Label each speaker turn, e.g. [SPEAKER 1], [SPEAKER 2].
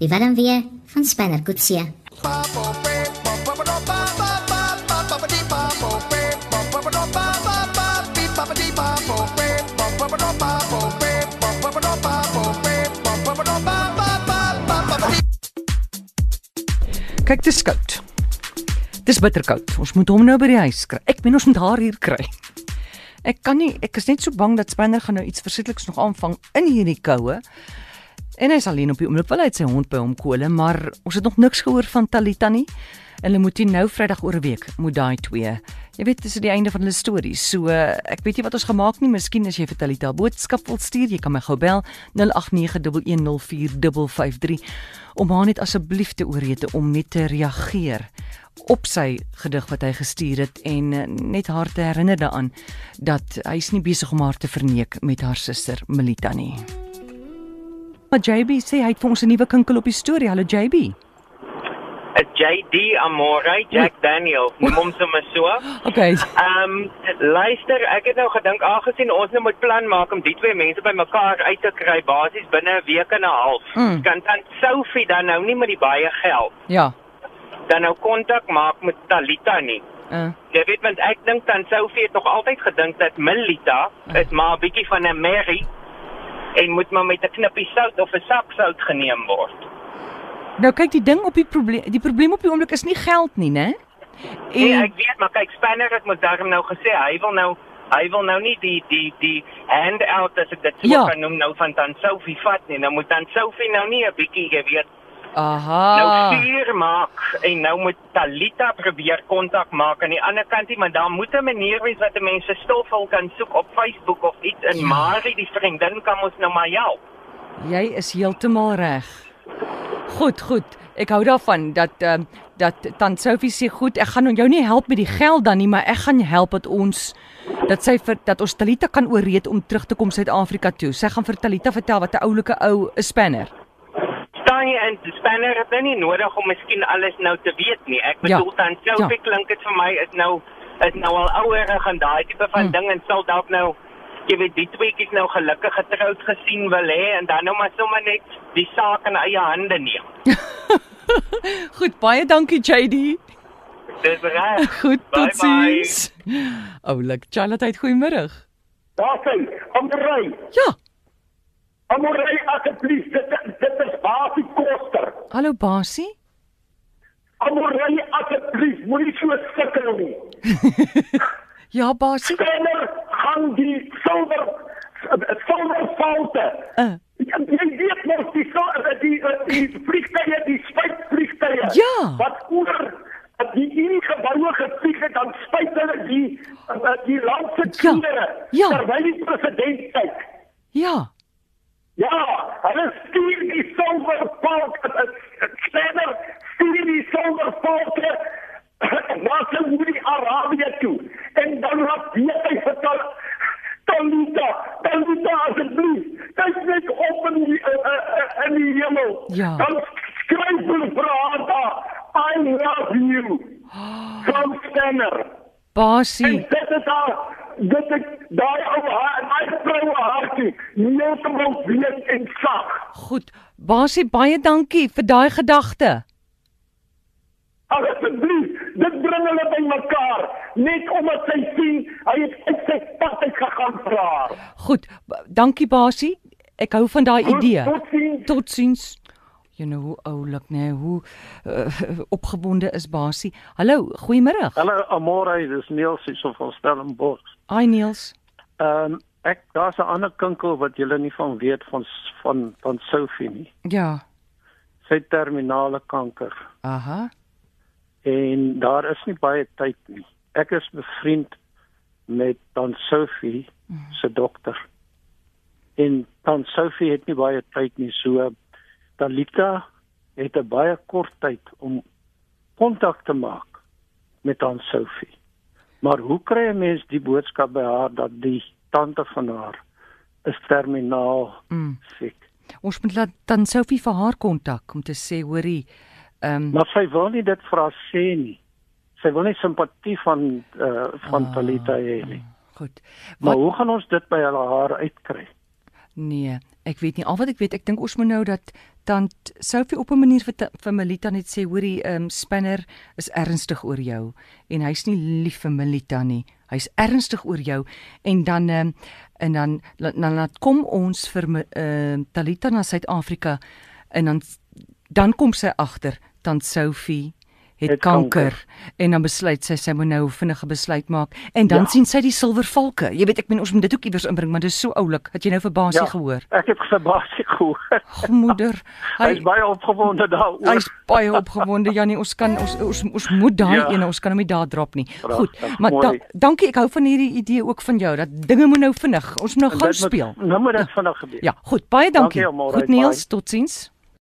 [SPEAKER 1] Die Willem weer van Spanner Coetzee.
[SPEAKER 2] Kyk, dis koud. Dis bitterkoud. Ons moet hom nou by die huis kry. Ek meen ons moet haar hier kry. Ek kan nie ek is net so bang dat Spanner gaan nou iets verskrikliks nog aanvang in hierdie koue. En hy's alleen op die oomblik wel uit sy hond by hom kole, maar ons het nog niks gehoor van Talita nie. En Hulle moet hier nou Vrydag oor 'n week moet daai twee. Jy weet, dis die einde van hulle stories. So eh, ek weet nie wat ons gemaak nie. Miskien as jy vir Talita 'n boodskap wil stuur, jy kan my gou bel 0891104553 om haar net asseblief te ooreed om net te reageer op sy gedig wat hy gestuur het en eh, net haar te herinner daaraan dat hy's nie besig om haar te verneek met haar suster Melita nie. Maar JB sê hy het vir ons 'n nuwe kinkel op die storie. Hallo JB.
[SPEAKER 3] Uh, JD Amore, Jack Daniel, noem hom sommer so.
[SPEAKER 2] Okay.
[SPEAKER 3] Ehm luister, ek het nou gedink aangesien ons nou moet plan maak om die twee mense bymekaar uit te kry basies binne 'n week en 'n half.
[SPEAKER 2] Mm.
[SPEAKER 3] Kan dan Sophie dan nou nie met die baie geld
[SPEAKER 2] Ja.
[SPEAKER 3] dan nou kontak maak met Talita nie.
[SPEAKER 2] Uh,
[SPEAKER 3] Jy weet want ek dink dan Sophie het nog altyd gedink dat Melita is maar 'n bietjie van 'n merrie en moet maar met 'n knippie sout of 'n sak sout geneem word.
[SPEAKER 2] nou kyk die ding op die probleem die probleem op die oomblik is nie geld nie, né?
[SPEAKER 3] Nee,
[SPEAKER 2] En
[SPEAKER 3] ek weet, maar kyk, Spanner het mos daarom nou gesê hy wil nou hy wil nou nie die die die handout as ek dit so
[SPEAKER 2] Ja.
[SPEAKER 3] ja. kan noem nou van dan Sophie vat nie. Nou moet dan Sophie nou nie 'n bietjie, jy weet, nou
[SPEAKER 2] aha.
[SPEAKER 3] vuur maak en nou moet Talita probeer kontak maak aan die ander kant nie, maar daar moet 'n manier wees wat mense stofvol kan soek op Facebook of iets en
[SPEAKER 2] Ja.
[SPEAKER 3] ja. Marie die vriendin kan ons nou maar help.
[SPEAKER 2] Jy is heeltemal reg. Goed, goed. Ek hou daarvan dat ehm um, dat tant Sophie sê goed, ek gaan jou nie help met die geld dan nie, maar ek gaan help dat ons dat sy vir dat ons Talita kan ooreed om terug te kom Suid-Afrika toe. Sy gaan vir Talita vertel wat 'n oulike ou 'n spanner.
[SPEAKER 3] staan jy in spanner het nou nie nodig om miskien alles nou te weet nie. Ek bedoel
[SPEAKER 2] Ja.
[SPEAKER 3] dan Sophie klink dit vir my is nou is nou al ouerig en daai tipe van
[SPEAKER 2] Mm.
[SPEAKER 3] ding en sal dalk nou jy weet die tweeetjies nou gelukkig getroud gesien wil hê en dan nou maar sommer net die saak in eie hande neem.
[SPEAKER 2] Goed, baie dankie JD.
[SPEAKER 3] Dis reg.
[SPEAKER 2] Goed,
[SPEAKER 3] Bye,
[SPEAKER 2] tot sins. Oulik, Charlotte, goeiemôre.
[SPEAKER 4] Daar sê, "Amorey,
[SPEAKER 2] Ja,
[SPEAKER 4] amorey asseblief, dit dit is basie koster.
[SPEAKER 2] hallo Basie.
[SPEAKER 4] Amorey asseblief, moenie so sukkel nie.
[SPEAKER 2] Ja, Basie.
[SPEAKER 4] Kenner gaan die silwer silwer foute.
[SPEAKER 2] Uh,
[SPEAKER 4] Jy jy weet mos die so die eh, die vliegtye, die spyt vliegtye.
[SPEAKER 2] Ja.
[SPEAKER 4] Wat oor die ingeboue gevlieg het dan spyt hulle die eh, die land se
[SPEAKER 2] Ja,
[SPEAKER 4] kinders.
[SPEAKER 2] ja.
[SPEAKER 4] Terwyl die president kyk.
[SPEAKER 2] ja.
[SPEAKER 4] Ja, hulle stuur die silverpalk, sneller stuur die silverpalk na Saudi-Arabië toe. En dan laat die hy vertel Talita, Talita asseblief, kyk net op in die, uh, uh, in die hemel.
[SPEAKER 2] Ja.
[SPEAKER 4] Dan skryf hulle vir haar daar, I love you, from Stenner. En
[SPEAKER 2] Basie.
[SPEAKER 4] dit is haar dit is daai ou haar daai vroue hartjie heeltemal weet en sag.
[SPEAKER 2] Goed. Basie, baie dankie vir daai gedagte.
[SPEAKER 4] Asseblief, dit bring hulle by mekaar net omdat sy sien hy het uit sy pad uit gegaan vir haar.
[SPEAKER 2] Goed. ba- Dankie Basie. Ek hou van daai idee.
[SPEAKER 4] Totsiens.
[SPEAKER 2] Totsiens. Jy nou hoe oulik, né? Nee, hoe uh, opgewonde is Basie. Hallo, goeiemôre.
[SPEAKER 5] Hallo Amore, dis Niels hier so van Stellenbosch.
[SPEAKER 2] Hi Niels.
[SPEAKER 5] Ehm um, ek daar's 'n ander kinkel wat julle nie van weet van S- van van Sophie nie.
[SPEAKER 2] Ja.
[SPEAKER 5] Sy het terminale kanker
[SPEAKER 2] Aha.
[SPEAKER 5] en daar is nie baie tyd nie. Ek is bevriend met dan Sophie se dokter. En dan Sophie het nie baie tyd nie, so Talita het 'n baie kort tyd om kontak te maak met dan Sophie. Maar hoe kry 'n mens die boodskap by haar dat die tante van haar is terminaal
[SPEAKER 2] Mm.
[SPEAKER 5] siek?
[SPEAKER 2] Ons moet laat dan Sophie vir haar kontak om te sê hoorie. Ehm um,
[SPEAKER 5] Maar sy wil nie dit vir haar sê nie. Sy wil nie simpatie van uh, van
[SPEAKER 2] Ah.
[SPEAKER 5] ah. Talita hê nie.
[SPEAKER 2] goed.
[SPEAKER 5] Maar hoe gaan ons dit by hulle haar uitkry?
[SPEAKER 2] Nee, Ek weet nie al wat ek weet. Ek dink ons moet nou dat tant Sophie op 'n manier vir ta- vir Melita net sê hoorie, ehm um, Spanner is ernstig oor jou en hy's nie lief vir Melita nie. Hy's ernstig oor jou en dan ehm um, en dan dan, dan laat kom ons vir ehm um, Talita na Suid-Afrika en dan dan kom sy agter tant Sophie het, het
[SPEAKER 5] Het
[SPEAKER 2] kanker.
[SPEAKER 5] kanker.
[SPEAKER 2] kanker en dan besluit sy sy moet nou vinnige besluit maak en dan ja. sien sy die silwervalke. Jy weet ek meen ons moet dit ook iewers inbring want dit is so oulik. Het jy nou verbaas ja. gehoor?
[SPEAKER 5] Ek het verbaas ek gehoor.
[SPEAKER 2] Moeder, hy
[SPEAKER 5] Hy's baie opgewonde daaroor.
[SPEAKER 2] hy's baie opgewonde Janie. Ons kan ons ons ons moet daai ja.
[SPEAKER 5] Ja.
[SPEAKER 2] een, ons kan hom nie daar drop nie. Goed,
[SPEAKER 5] Pragtig,
[SPEAKER 2] maar da,
[SPEAKER 5] mooi.
[SPEAKER 2] dankie. Ek hou van hierdie idee ook van jou dat dinge moet nou vinnig. Ons moet nou
[SPEAKER 5] Dit
[SPEAKER 2] gou
[SPEAKER 5] moet-
[SPEAKER 2] speel.
[SPEAKER 5] Nou moet dit vinnig gebeur.
[SPEAKER 2] Ja, goed. Baie dankie.
[SPEAKER 5] Dankie, Amore,
[SPEAKER 2] goed
[SPEAKER 5] bye.
[SPEAKER 2] Niels, totsiens.